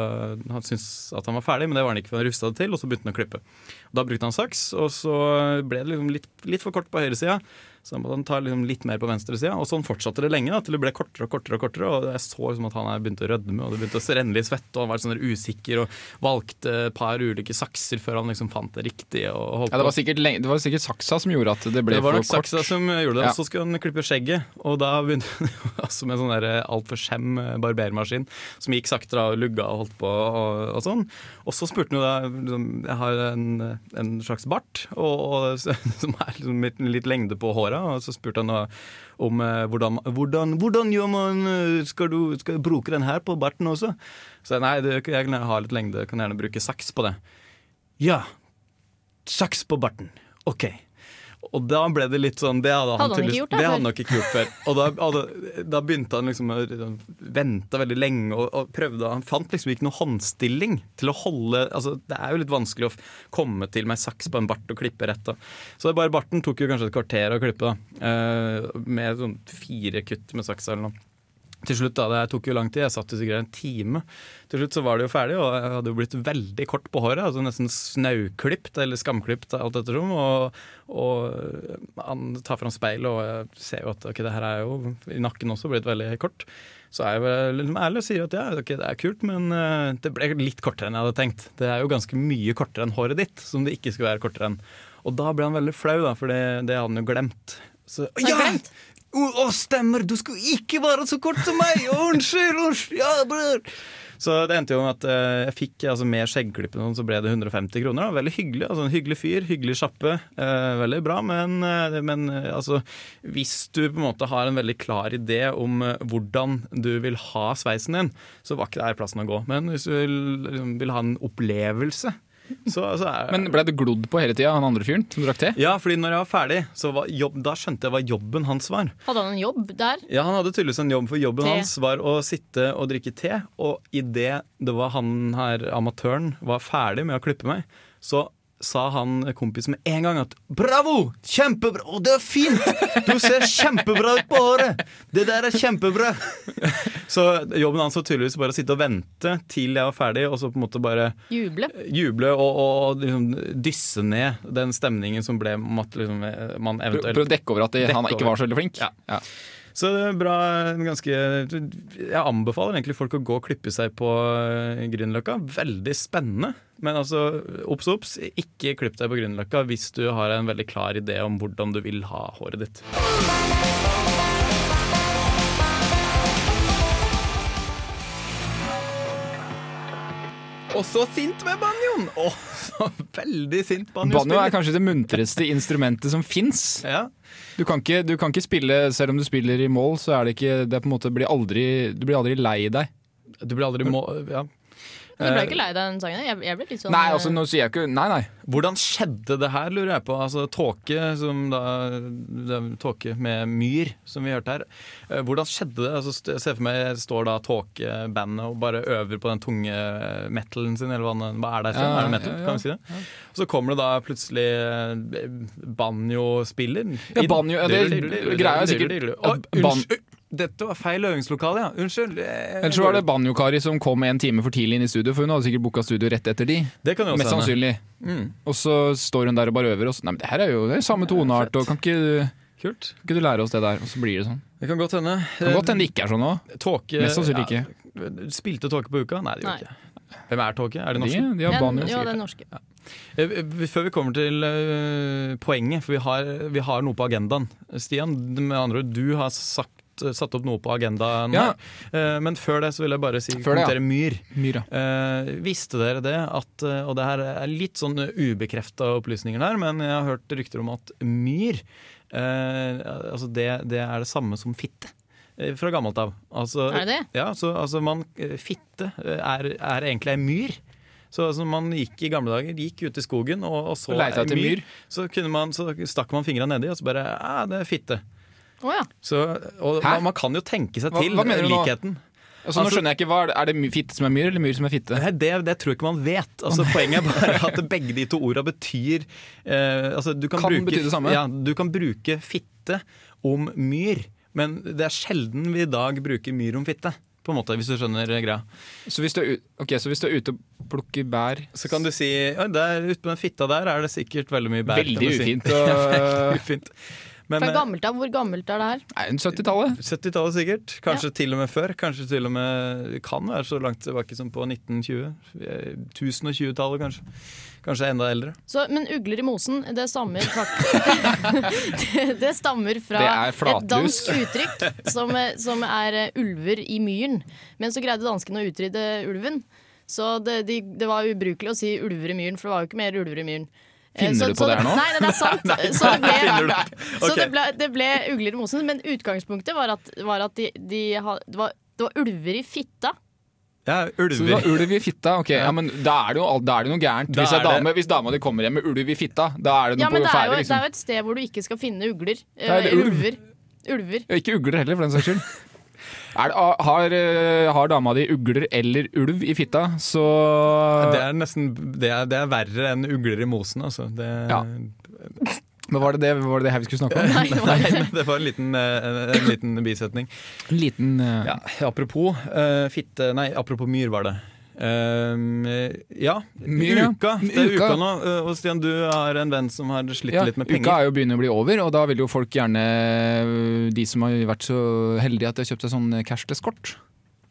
S3: han syntes at han var ferdig, men det var han ikke, for han rusta det til, og så begynte han å klippe. Og da brukte han saks, og så ble det liksom litt, litt for kort på høyresida. Så da måtte han ta liksom litt mer på venstresida, og sånn fortsatte det lenge. Da, til det ble kortere og kortere. Og kortere Og jeg så liksom at han her begynte å rødme og det begynte å renne litt svette. Og han var sånn der usikker og valgte et par ulike sakser før han liksom fant det riktige. Og holdt
S4: Ja, det,
S3: på.
S4: var sikkert lenge, det var sikkert saksa som gjorde at det ble
S3: Det var
S4: for
S3: nok
S4: kort.
S3: saksa som gjorde det.
S4: Ja.
S3: Og så skulle han klippe skjegget, og da begynte han altså med sånn der altfor skjem eh, barbermaskin som gikk saktere og lugga og holdt på og, og sånn. Og så spurte han jo da liksom, Jeg har en, en slags bart og, og, som er liksom litt, litt lengde på håra, og så spurte han da om eh, hvordan, hvordan, hvordan gjør man eh, Skal du skal jeg bruke den her på barten også? Så jeg nei, det, jeg kan ha litt lengde, kan gjerne bruke saks på det. Ja, saks på barten. Ok. Og da ble det litt sånn Det hadde han,
S2: Hadde han ikke
S3: tydeligvis-
S2: gjort det
S3: det
S2: før?
S3: hadde han nok ikke gjort før. Og da, hadde, da begynte han liksom å vente veldig lenge og, og prøvde Han fant liksom ikke noen håndstilling til å holde altså Det er jo litt vanskelig å f- komme til med saks på en bart og klippe rett. Da. Så det er bare barten tok jo kanskje et kvarter å klippe, da. Eh, med sånn fire kutt med saksa eller noe. Til slutt da, Det tok jo lang tid, jeg satt jo sikkert en time. Til slutt så var det jo ferdig, og jeg hadde jo blitt veldig kort på håret. altså Nesten snauklipt eller skamklipt. alt ettersom, Og, og han tar fram speilet, og jeg ser jo at ok, det her er jo i nakken også blitt veldig kort. Så er jeg vel liksom ærlig og sier at ja, ok, det er kult, men eh, det ble litt kortere enn jeg hadde tenkt. Det er jo ganske mye kortere enn håret ditt, som det ikke skulle være kortere enn. Og da ble han veldig flau, da, for det, det hadde han jo glemt. Så,
S2: han glemt?
S3: å, å, stemmer! Du skulle ikke være så kort som meg! Å, Unnskyld! unnskyld ja, bror. Så det endte jo med at eh, jeg fikk altså, med skjeggklippen, og sånn, så ble det 150 kroner. Da. Veldig hyggelig. altså En hyggelig fyr, hyggelig sjappe. eh, veldig bra. Men, eh, men eh, altså, hvis du på en måte har en veldig klar idé om eh, hvordan du vil ha sveisen din, så var ikke det her plassen å gå. Men hvis du vil, liksom, vil ha en opplevelse, så, så er
S4: Men ble du glodd på hele tida, han andre fyren som drakk te?
S3: ja, fordi når jeg var ferdig, så var jobb, da skjønte jeg hva jobben hans var.
S2: Hadde han en jobb der?
S3: Ja, Han hadde tydeligvis en jobb, for jobben
S2: Te.
S3: hans var å sitte og drikke te. Og idet det var han her amatøren var ferdig med å klippe meg, så sa han kompisen med en gang at 'bravo! Kjempebra! Å, det er fint! Du ser kjempebra ut på håret! Det der er kjempebra!' Så jobben hans var tydeligvis bare å sitte og vente til jeg var ferdig, og så på en måte bare
S2: Juble?
S3: juble og, og liksom dysse ned den stemningen som ble om at liksom, man eventuelt
S4: Prøv å dekke over at det,
S3: Dekke
S4: han ikke
S3: over.
S4: var så veldig flink?
S3: Ja.
S4: Ja.
S3: Så det er bra, en ganske Jeg anbefaler egentlig folk å gå og klippe seg på eh, Grünerløkka. Veldig spennende. Men altså, obs, obs, ikke klipp deg på Grünerløkka hvis du har en veldig klar idé om hvordan du vil ha håret ditt. Og så sint med banjoen! Åh, så veldig sint
S4: Banjo er
S3: banjospiller.
S4: kanskje det muntreste instrumentet som fins.
S3: Ja.
S4: Du, kan ikke- du kan ikke spille Selv om du spiller i mål, så er det ikke det er på en måte blir aldri, Du blir aldri lei deg.
S3: Du blir aldri må... Ja.
S2: Men
S3: Eh,
S2: du ble ikke lei deg av den sangen? Jeg, jeg ble litt sånn
S4: Nei, altså nå sier jeg ikke Nei, nei.
S3: Hvordan skjedde det her, lurer jeg på. Altså, tåke, som da, det er tåke med myr, som vi hørte her. Eh, Hvordan skjedde det? Altså, st- jeg ser for meg jeg står da tåkebandet og bare øver på den tunge metalen sin, eller hva, den- hva er det for?
S4: Ja,
S3: er det metal,
S4: ja, ja.
S3: kan vi si det? Og så kommer det da plutselig eh, banjospiller.
S4: Ja, banjo, ja, det- greia er sikkert-
S3: Å,
S4: at ban-
S3: Unnskyld! Dette var feil øvingslokale, ja. Unnskyld. jeg-
S4: Ellers så var det Banjo-Kari som kom en time for tidlig inn i studio, for hun hadde sikkert booka studio rett etter de.
S3: Det kan jo
S4: Mest
S3: også hende.
S4: sannsynlig. Og så står hun der og bare øver. Og så, nei, men det her er jo det er jo samme toneart, og kan ikke,
S3: Kult.
S4: kan ikke du lære oss det der? Og så blir det sånn.
S3: Det kan godt hende.
S4: Det kan godt hende det ikke er sånn òg.
S3: Tåke
S4: Mest sannsynlig ikke.
S3: Ja, spilte Tåke på uka? Nei, det
S2: Nei.
S3: gjorde ikke. Hvem er Tåke? Er det
S4: De,
S3: norske?
S4: de har
S2: den,
S4: banjo.
S2: eh, ja,
S4: sikkert.
S2: den norske.
S3: Eh, eh, Før vi kommer til eh, poenget, for vi har, vi har noe på agendaen. Stian, med andre ord, du har sagt eh, Satt opp noe på agendaen.
S4: Ja.
S3: her. Eh, Men før det så vil jeg bare si,
S4: Før det, ja.
S3: kommentere Myr.
S4: Myra.
S3: Eh, visste dere det at eh, Og det her er litt sånn ubekrefta opplysninger der, men jeg har hørt rykter om at myr eh, Altså det, det er det samme som fitte. eh, Fra gammelt av. Altså,
S2: Er det det?
S3: Ja, så, altså man, eh, fitte eh, er, er egentlig ei myr. Så altså, man gikk i gamle dager gikk ut i skogen og, og så
S4: Og leita
S3: ei
S4: etter myr.
S3: Så, kunne man, så stakk man fingra nedi, og så bare Æ, det er fitte.
S2: Å ja.
S3: Så, og
S4: Hæ?
S3: man, man kan jo tenke seg
S4: Hva-
S3: til
S4: hva mener du nå?
S3: likheten.
S4: Altså, nå
S3: Altså-
S4: skjønner jeg ikke, hva er det- Er det my- fitte som er myr, eller myr som er fitte?
S3: Nei, Det, det tror jeg ikke man vet. Altså, poenget er bare at begge de to orda betyr eh, altså, du kan,
S4: Kan
S3: bruke,
S4: bety det samme.
S3: Ja, du kan bruke fitte om myr, men det er sjelden vi i dag bruker myr om fitte. På en måte, Hvis du skjønner greia.
S4: Så hvis du er, ut, ok, så hvis du er ute og plukker bær
S3: Så kan du si «Oi, der, ute på den fitta der er det sikkert veldig mye bær. kan
S4: Veldig
S3: du si.
S4: ufint.
S3: Veldig
S4: Og,
S3: ufint. Men
S2: Fra
S3: eh,
S2: gammelt av, hvor gammelt er det her?
S4: nei, 70-tallet.
S3: 70-tallet sikkert. Kanskje til og med før. Kanskje til og med kan være så langt tilbake som på 1920. eh, 1020-tallet, kanskje. Kanskje enda eldre.
S2: Så, men ugler i mosen, det stammer faktisk det, det stammer fra
S4: Det er
S2: et
S4: flatlus.
S2: dansk uttrykk som, eh, som er eh, ulver i myren. Men så greide danskene å utrydde ulven. Så det, de, det var ubrukelig å si ulver i myren, for det var jo ikke mer ulver i myren. Eh,
S4: Finner
S2: så,
S4: du på
S2: så,
S4: det her nå?
S2: Nei, nei, det er sant. så det
S3: finner
S2: ble,
S3: du opp.
S2: så det
S3: Ok.
S2: ble, det ble ugler i mosen, men utgangspunktet var at, var at de, de, ha- det, var, det var ulver i fitta.
S3: Ja,
S4: Så det
S3: ulver.
S4: var ulv i fitta? Ok, ja, men Da er det jo, alt- da er det noe gærent.
S3: Da
S4: Hvis, ei
S3: er det-
S4: dame, hvis dama di kommer hjem med ulv i fitta, da er det noe
S2: Ja, men
S4: på
S2: det er, jo, det
S4: ferde.
S2: er
S4: Liksom.
S2: jo et sted hvor du ikke skal finne ugler.
S4: er
S2: eh,
S4: det
S2: eller
S4: ulv.
S2: ulver. Ulver.
S4: Ja, Ikke ugler heller, for den saks skyld. Er det, ah, har, eh, har dama di ugler eller ulv i fitta, så
S3: Det er nesten det er, det er verre enn ugler i mosen, altså. Det,
S4: Ja. Hva var det det, var det det her vi skulle snakke om?
S2: Nei, det var
S3: Nei, det var en liten, eh, en, en liten bisetning.
S4: En liten eh,
S3: Ja, apropos eh, fitte Nei, apropos myr, var det. Ehm, ja,
S4: Myr, ja.
S3: uka. Det er
S4: Uka.
S3: uka nå. eh, Og Stian, du har en venn som har slitt
S4: ja,
S3: litt med
S4: Uka
S3: penger.
S4: er jo begynner å bli over, og da vil jo folk gjerne De som har vært så heldige at de har kjøpt seg sånn cashless-kort,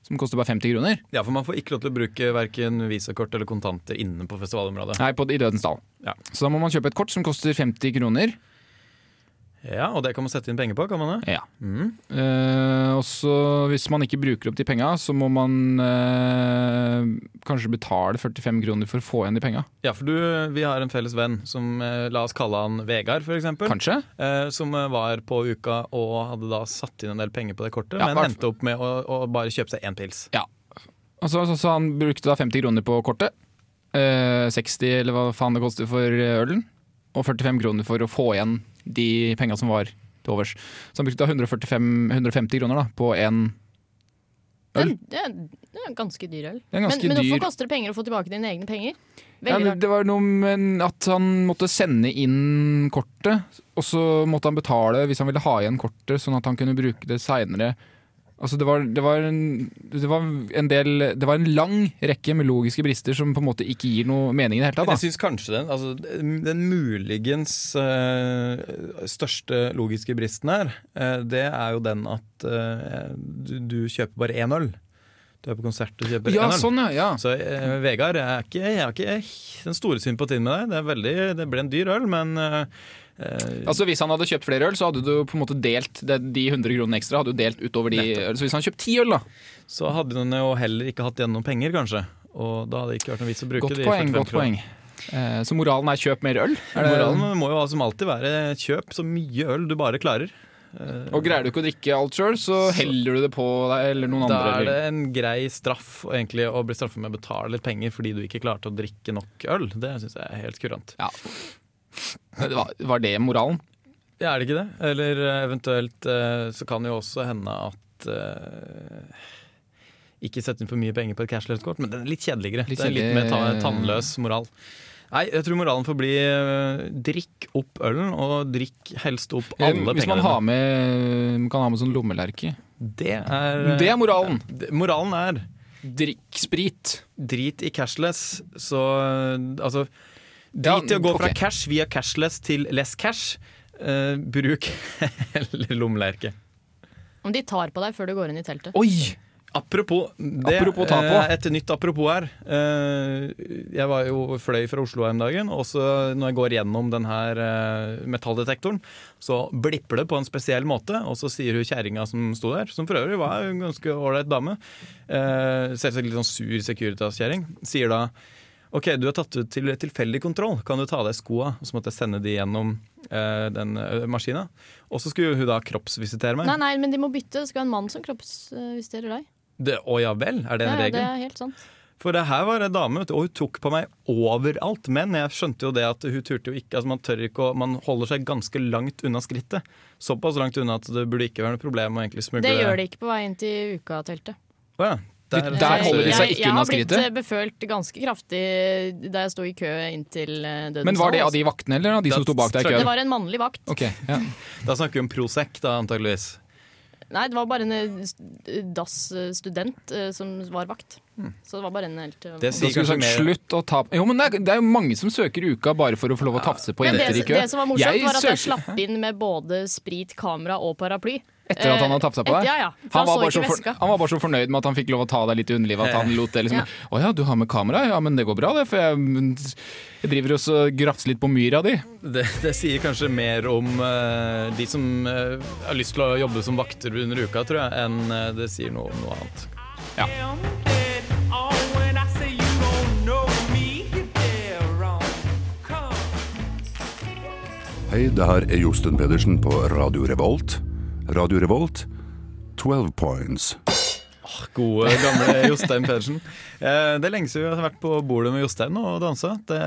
S4: som koster bare 50 kroner
S3: Ja, For man får ikke lov til å bruke verken visakort eller kontanter inne på festivalområdet.
S4: Nei, på, i Dødens dal.
S3: Ja.
S4: Så da må man kjøpe et kort som koster 50 kroner.
S3: Ja, Og det kan man sette inn penger på, kan man det?
S4: Ja.
S3: Mm.
S4: Eh, og så hvis man ikke bruker opp de penga, så må man eh, kanskje betale 45 kroner for å få igjen de penga.
S3: Ja, for du, vi har en felles venn som eh, la oss kalle han Vegard, for eksempel.
S4: Kanskje?
S3: Eh, som eh, var på uka og hadde da satt inn en del penger på det kortet,
S4: Ja,
S3: men
S4: hvert-
S3: endte opp med å, å bare kjøpe seg én pils.
S4: Og så, så, så han brukte da 50 kroner på kortet. eh, 60 eller hva faen det koster for eh, ølen. Og 45 kroner for å få igjen de penga som var til overs. Så han brukte da 145, 150 kroner da, på en
S2: Det er, det er- det er en ganske dyr øl.
S4: Det er en ganske
S2: men, men
S4: dyr-
S2: hvorfor koster det penger å få tilbake dine egne penger?
S4: Ja,
S2: Veldig
S4: men
S2: rart.
S4: det var noe med at han måtte sende inn kortet, og så måtte han betale hvis han ville ha igjen kortet, sånn at han kunne bruke det seinere. Altså det, var, det, var en, det var en del Det var en lang rekke med logiske brister som på en måte ikke gir noe mening i det hele
S3: Men
S4: tatt.
S3: Jeg syns kanskje den, altså, den muligens eh, største logiske bristen her, eh, det er jo den at eh, du, du kjøper bare én øl. Du er på konsert og
S4: Da.
S3: kjøper
S4: Ja,
S3: én øl.
S4: sånn, ja. ja.
S3: Så eh, Vegard, jeg har ikke, jeg har ikke den store sympatien med deg. Det, er veldig, det ble en dyr øl, men eh, eh,
S4: Altså Hvis han hadde kjøpt flere øl, så hadde du på en måte delt det, de 100 kronene ekstra. Hadde du delt utover de øl. Så hvis han kjøpt ti øl, da
S3: så hadde hun jo heller ikke hatt igjen noen penger, kanskje. Og da hadde det ikke vært noen vits å bruke
S4: Godt
S3: de 45
S4: poeng. godt
S3: kronene.
S4: poeng Eh, Så moralen er kjøp mer øl? Er det-
S3: Moralen må jo som alltid være kjøp så mye øl du bare klarer.
S4: Og greier du ikke å drikke alt sjøl, så heller du det på deg eller noen
S3: Da
S4: andre.
S3: er det en grei straff og egentlig, å bli straffet med å betale litt penger fordi du ikke klarte å drikke nok øl. Det syns jeg er helt kurant.
S4: Ja. Det var, var det moralen?
S3: Ja, er det ikke det? Eller eh, eventuelt eh, så kan det jo også hende at eh, Ikke sette inn for mye penger på et cashless-kort, men den er litt kjedeligere.
S4: Litt
S3: det er litt eh.
S4: kjedelig-
S3: mer ta tannløs moral. Nei, jeg tror moralen får bli eh, drikk opp ølen, og drikk helst opp alle
S4: Hvis
S3: pengene.
S4: man har med, man kan ha med sånn lommelerke.
S3: dine. Det er, eh,
S4: Det er moralen!
S3: det, moralen er
S4: Drikk sprit.
S3: drit i cashless, så eh, Altså,
S4: Ja,
S3: drit i å gå fra
S4: ok.
S3: cash via cashless til less cash. Eh, bruk eller lommelerke.
S2: Om de tar på deg før du går inn i teltet.
S4: Oi!
S3: Apropos det,
S4: Apropos ta på.
S3: eh, et nytt apropos her. Eh, Jeg var jo fløy fra Oslo her om dagen, og så når jeg går gjennom den her eh, metalldetektoren, så blipper det på en spesiell måte, og så sier hun kjerringa som sto der, som for øvrig var en ganske ålreit dame, eh, selvsagt litt sånn sur Securitas-kjerring, sier da Ok, du er tatt ut til tilfeldig kontroll. Kan du ta av deg skoa? Og så måtte jeg sende de gjennom eh, den eh, maskina. Og så skulle hun da kroppsvisitere meg.
S2: Nei, nei, men de må bytte. Det skal være en mann som eh, kroppsvisiterer deg.
S3: Det, å ja vel, er det en
S2: Ja, ja,
S3: regel?
S2: det er helt sant.
S3: For det her var en dame, vet du, og hun tok på meg overalt. Men jeg skjønte jo det at hun turte jo ikke altså Man tør ikke å Man holder seg ganske langt unna skrittet. Såpass langt unna at det burde ikke være noe problem å egentlig smugle
S2: Det gjør de ikke på vei inn til uka-teltet.
S3: Å ja. Der,
S4: Der holder de seg
S2: Jeg-
S4: ikke unna skrittet?
S2: Jeg har blitt eh, befølt ganske kraftig da jeg sto i kø inn til eh, Dødens
S4: Men var det
S2: Dal,
S4: av de vaktene, eller av de som
S3: Det-
S4: sto bak deg i
S2: altså. Det
S4: køen?
S2: var en mannlig vakt.
S4: Ok, ja.
S3: Da snakker vi om Prosec, da, antageligvis.
S2: Nei, det var bare en eh, st- DAS-student eh, som var vakt.
S4: Hmm.
S2: Så det var bare en helt eh,
S3: Det
S4: Da
S3: sier
S4: skulle du
S3: kanskje
S4: sagt
S3: mer
S4: slutt å ta Jo, men det er, det er jo mange som søker uka bare for å få lov å tafse på
S2: Men
S4: jenter i
S2: det,
S4: kø.
S2: det som var morsomt,
S4: Jeg
S2: var at jeg
S4: søker-
S2: slapp inn med både sprit, kamera og paraply.
S4: Etter at han hadde tafsa på
S2: Eh,
S4: deg?
S2: Ja, ja. For
S4: Han
S2: han,
S4: var, bare
S2: så
S4: så
S2: ikke
S4: for,
S2: veska. Eh,
S4: han var bare så fornøyd med at han fikk lov å ta deg litt i underlivet. At han lot det liksom
S2: Ja.
S4: Å ja, du har med kamera? Ja, men det går bra, det. For jeg, jeg driver også og grafser litt på myra di.
S3: det, det sier kanskje mer om eh, de som eh, har lyst til å jobbe som vakter under uka, tror jeg, enn eh, det sier noe om noe annet.
S6: am dead. Oh, when I say you don't know me, you're dead wrong. Come.
S7: Hei, det her er Josten Pedersen på Radio Revolt. Radio Revolt, 12 points.
S3: Åh, Ah, Gode, gamle Jostein Pedersen. Eh, Det er lenge siden vi har vært på bordet med Jostein og dansa. Det,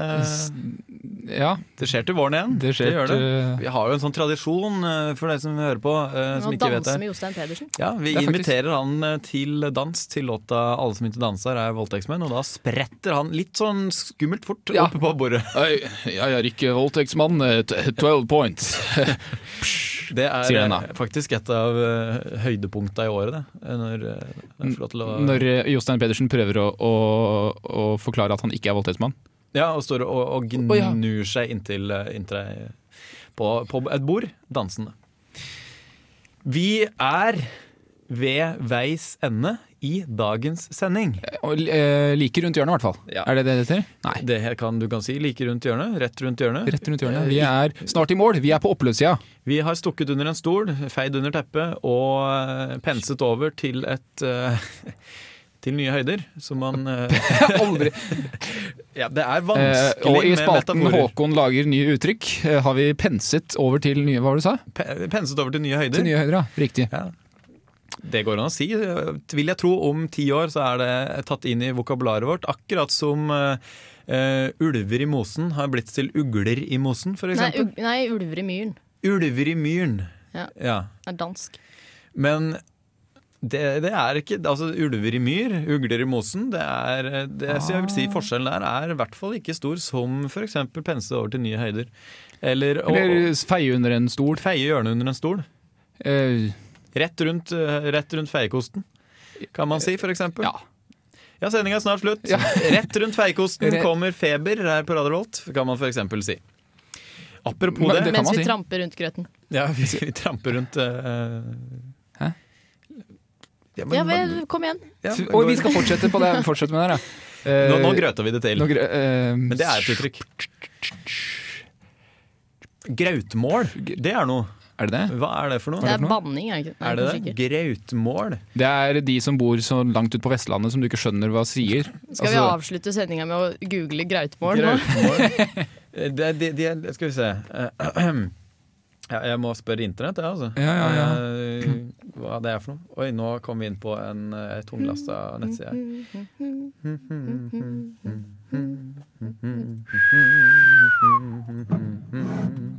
S4: Ja,
S3: det skjer til våren igjen.
S4: det skjer.
S3: gjør det.
S4: til-
S3: Vi har jo en sånn tradisjon eh, for dere som hører på, eh, som
S2: Å
S3: ikke vet
S2: danse
S3: det.
S2: med Jostein Pedersen.
S3: Ja, vi
S4: Det er faktisk-
S3: inviterer han eh, til dans til låta 'Alle som ikke danser er voldtektsmenn', og da spretter han litt sånn skummelt fort
S4: Ja.
S3: oppe på bordet.
S4: Jeg er ikke voldtektsmann. Eh, Twelve points.
S3: Det er
S4: Sier den
S3: eh, faktisk et av uh, høydepunkta i året, det. Eh, Når eh, jeg får lov til å
S4: Når eh, Jostein Pedersen prøver å, å, å forklare at han ikke er voldtektsmann.
S3: Ja, og står og, og
S4: Å, ja.
S3: gnur seg inntil, eh, inntil deg på, på et bord, dansende. Vi er ved veis ende i dagens sending.
S4: Og, eh, like rundt hjørnet, i hvert fall.
S3: Ja.
S4: Er det det det heter? Nei.
S3: Det her kan, du kan si like rundt hjørnet, rett rundt hjørnet.
S4: Rett rundt hjørnet. Vi er snart i mål. Vi er på oppløpssida.
S3: Vi har stukket under en stol, feid under teppet og eh, penset over til et eh, til nye høyder, som man eh,
S4: Aldri.
S3: Ja, det er
S4: Eh,
S3: vanskelig
S4: og i
S3: med
S4: spalten
S3: metaforer.
S4: Håkon lager nye uttrykk, eh, har vi penset over til nye Hva var det du sa?
S3: Pe- Penset over til nye høyder.
S4: Til nye høyder, ja. Riktig.
S3: Ja. Det går an å si. Vil jeg tro om ti år så er det tatt inn i vokabularet vårt. Akkurat som eh, eh, ulver i mosen har blitt til ugler i mosen, for
S2: Nei,
S3: eksempel.
S2: ug- nei, Ulver i myren.
S3: Ulver i myren.
S2: Ja.
S3: ja.
S2: Det er dansk.
S3: Men det, det er ikke Altså, ulver i myr, ugler i mosen, det er det, Så jeg vil
S2: Ah.
S3: si forskjellen der er i hvert fall ikke stor som f.eks. pense over til nye høyder. Eller å
S4: Eller feie under en stol.
S3: feie hjørnet under en stol.
S4: Eh,
S3: Rett rundt, eh, rett rundt feiekosten, kan man si, for eksempel.
S4: ja.
S3: Ja, sendinga er snart slutt.
S4: Ja.
S3: Rett rundt feiekosten
S4: Re-
S3: kommer feber her på Radio Volt, kan man f.eks. si. Apropos
S4: Men
S3: det,
S4: kan
S2: Mens
S4: man
S2: vi
S4: si.
S2: tramper rundt grøten.
S3: ja, vi, vi tramper rundt eh,
S4: Hæ?
S3: Ja, men,
S2: Ja vel, kom igjen.
S3: ja,
S4: Og vi skal fortsette på det. Fortsette med det her, ja. Eh,
S3: nå, nå grøta vi det til.
S4: nå grø- eh,
S3: Men det er et uttrykk. Grautmål, det er noe.
S4: Er det det?
S3: Hva er det for
S2: Det
S3: noe?
S4: det
S2: er
S4: for noe?
S2: banning, er det ikke? Nei,
S3: Er det
S2: kanskje
S3: det?
S2: ikke.
S3: Grautmål.
S4: Det er de som bor så langt ut på Vestlandet som du ikke skjønner hva sier. Altså,
S2: Skal vi avslutte sendinga med å google grautmål nå?
S3: Grautmål. Eh, Det, det, det, skal vi se. Eh, Ja, jeg må spørre internett, jeg, altså.
S4: Ja, ja, ja.
S3: Eh, Hva det er for noe. Oi, nå kom vi inn på en eh, tunglasta nettside.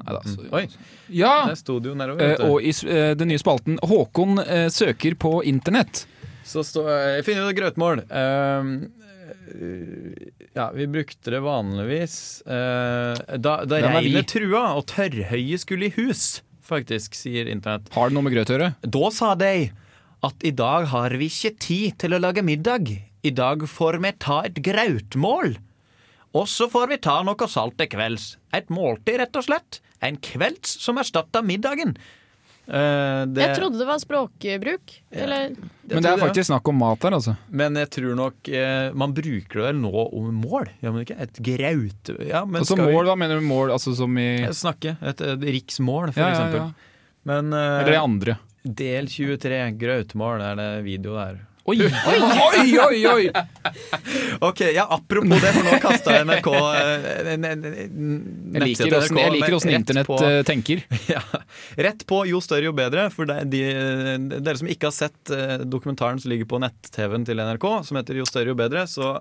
S4: Neida, så-
S3: Oi,
S4: Ja!
S3: der sto det jo nedover.
S4: Eh,
S3: vet du.
S4: og i s- eh, den nye spalten Håkon eh, søker på internett.
S3: Så står Jeg finner ut grøtmål. Ehm, eh, ja, vi brukte det vanligvis eh, Da, da
S4: Hvem er vi?
S3: regnet trua og tørrhøyet skulle i hus, faktisk, sier internett.
S4: Har det noe med grøt å gjøre?
S3: Da sa de at i dag har vi ikke tid til å lage middag. I dag får vi ta et grautmål. Og så får vi ta noe salt til kvelds. Et måltid, rett og slett. En kvelds som erstatta middagen. Eh, det,
S2: Jeg trodde det var språkbruk. Eller
S4: Men det er
S3: trodde-
S4: faktisk snakk om mat her, altså.
S3: Men jeg tror nok eh, Man bruker det vel nå om mål, gjør man ikke? Et graut... Ja, men
S4: Altså
S3: skal vi-
S4: mål, hva mener du med mål? Altså som i
S3: Eh, snakke? Et, et riksmål, for
S4: Ja, ja,
S3: eksempel.
S4: ja.
S3: Men
S4: Eller det
S3: eh,
S4: andre.
S3: del 23, grautmål, er det video der.
S4: Oi, oi, oi! oi, oi.
S3: Ok, ja, apropos det, for nå kasta NRK eh, en- en- en-
S4: Jeg liker
S3: nettsiden
S4: åssen- jeg
S3: NRK,
S4: liker åssen
S3: E, rett
S4: internett
S3: på-
S4: eh, tenker.
S3: Ja. Rett på Jo større, jo bedre. For de, de, dere som ikke har sett eh, dokumentaren som ligger på nett-TV-en til NRK, som heter Jo større, jo bedre, så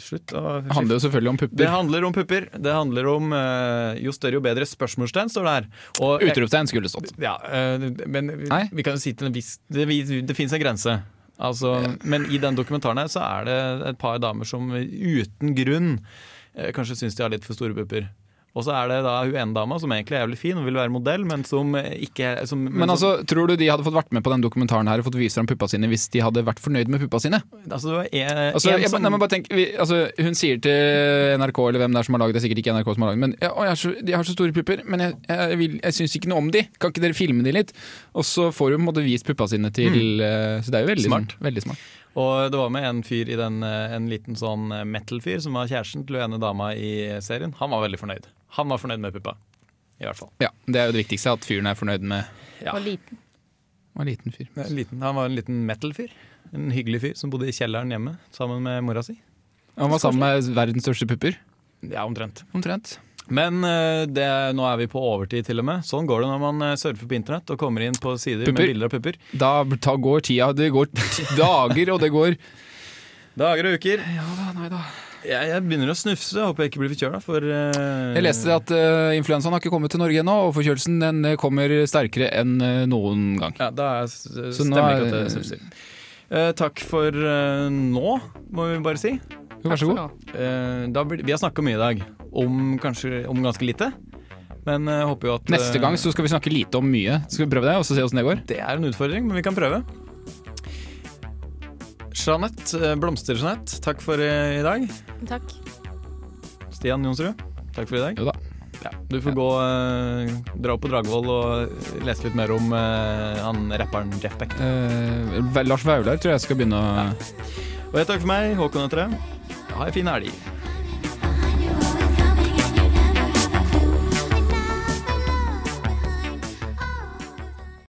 S3: slutt å
S4: Det handler jo selvfølgelig om
S3: Det
S4: pupper.
S3: handler om pupper. Det handler om eh, jo større, jo bedre spørsmålstegn, står det her. Og,
S4: Utropstegn skulle det stått.
S3: Ja, eh, men vi,
S4: Nei.
S3: vi kan jo si til en viss Det, vi, det fins en grense. Altså, men i den dokumentaren her så er det et par damer som uten grunn eh, kanskje syns de har litt for store pupper. Og så er det da hun ene dama som egentlig er jævlig fin og vil være modell, men som eh, ikke som,
S4: Men
S3: som-
S4: altså, tror du de hadde fått vært med på den dokumentaren her og fått vise fram puppa sine hvis de hadde vært fornøyd med puppa sine?
S3: altså, det var en,
S4: Altså,
S3: en
S4: jeg,
S3: som,
S4: nei, men bare tenk, vi, altså, hun sier til NRK eller hvem det er som har laget det, sikkert ikke NRK som har laget det, men ja, å, jeg, er så, de har så store pupper, men jeg, jeg, vil- jeg syns ikke noe om de. Kan ikke dere filme de litt? Og så får hun på en måte vist puppa sine til eh, Så det er jo veldig
S3: Mm. Smart.
S4: smart. Sånn, veldig smart.
S3: Og det var med en fyr i den, eh, en liten sånn eh, metal-fyr som var kjæresten til den ene dama i serien. Han var veldig fornøyd. Han var fornøyd med puppa. I hvert fall.
S4: Ja, det er jo det viktigste, at fyren er fornøyd med
S3: Ja.
S2: var liten.
S4: var en liten fyr.
S3: En liten, han var en liten metal-fyr. En hyggelig fyr som bodde i kjelleren hjemme sammen med mora si.
S4: Han var sammen med verdens største pupper,
S3: Ja, omtrent.
S4: omtrent.
S3: Men eh, det, nå er vi på overtid, til og med. Sånn går det når man eh, surfer på internett og kommer inn på sider
S4: Pupper.
S3: med bilder av pupper.
S4: Da ta, går tida Det går t dager, og det går
S3: Dager og uker. Jeg, jeg begynner å snufse. Håper jeg ikke blir forkjøla, for eh,
S4: Jeg leste at eh, influensaen har ikke kommet til Norge ennå, og forkjølelsen den eh, kommer sterkere enn eh, noen gang.
S3: Ja, da er, stemmer
S4: Så nå
S3: ikke
S4: er-
S3: at jeg snufser. Eh, takk for eh, nå, må vi bare si.
S4: Jo, Vær så god.
S3: Eh, da blir, vi har snakka mye i dag, om, kanskje, om ganske lite. Men eh, håper jo at eh,
S4: Neste gang så skal vi snakke lite om mye. Skal vi prøve det, og så se åssen det går?
S3: Det er en utfordring, men vi kan prøve. Jeanette, eh, Blomster-Jeanette, takk for eh, i dag.
S2: Takk.
S3: Stian Jonsrud, takk for i dag.
S4: Jo da.
S3: Ja, du får gå eh, dra opp på Dragvoll og lese litt mer om eh, han rapperen Jeff Beck.
S4: Eh, Lars Vaular tror jeg skal begynne å
S3: Og jeg takker for meg, Håkon heter jeg. Ha en fin helg.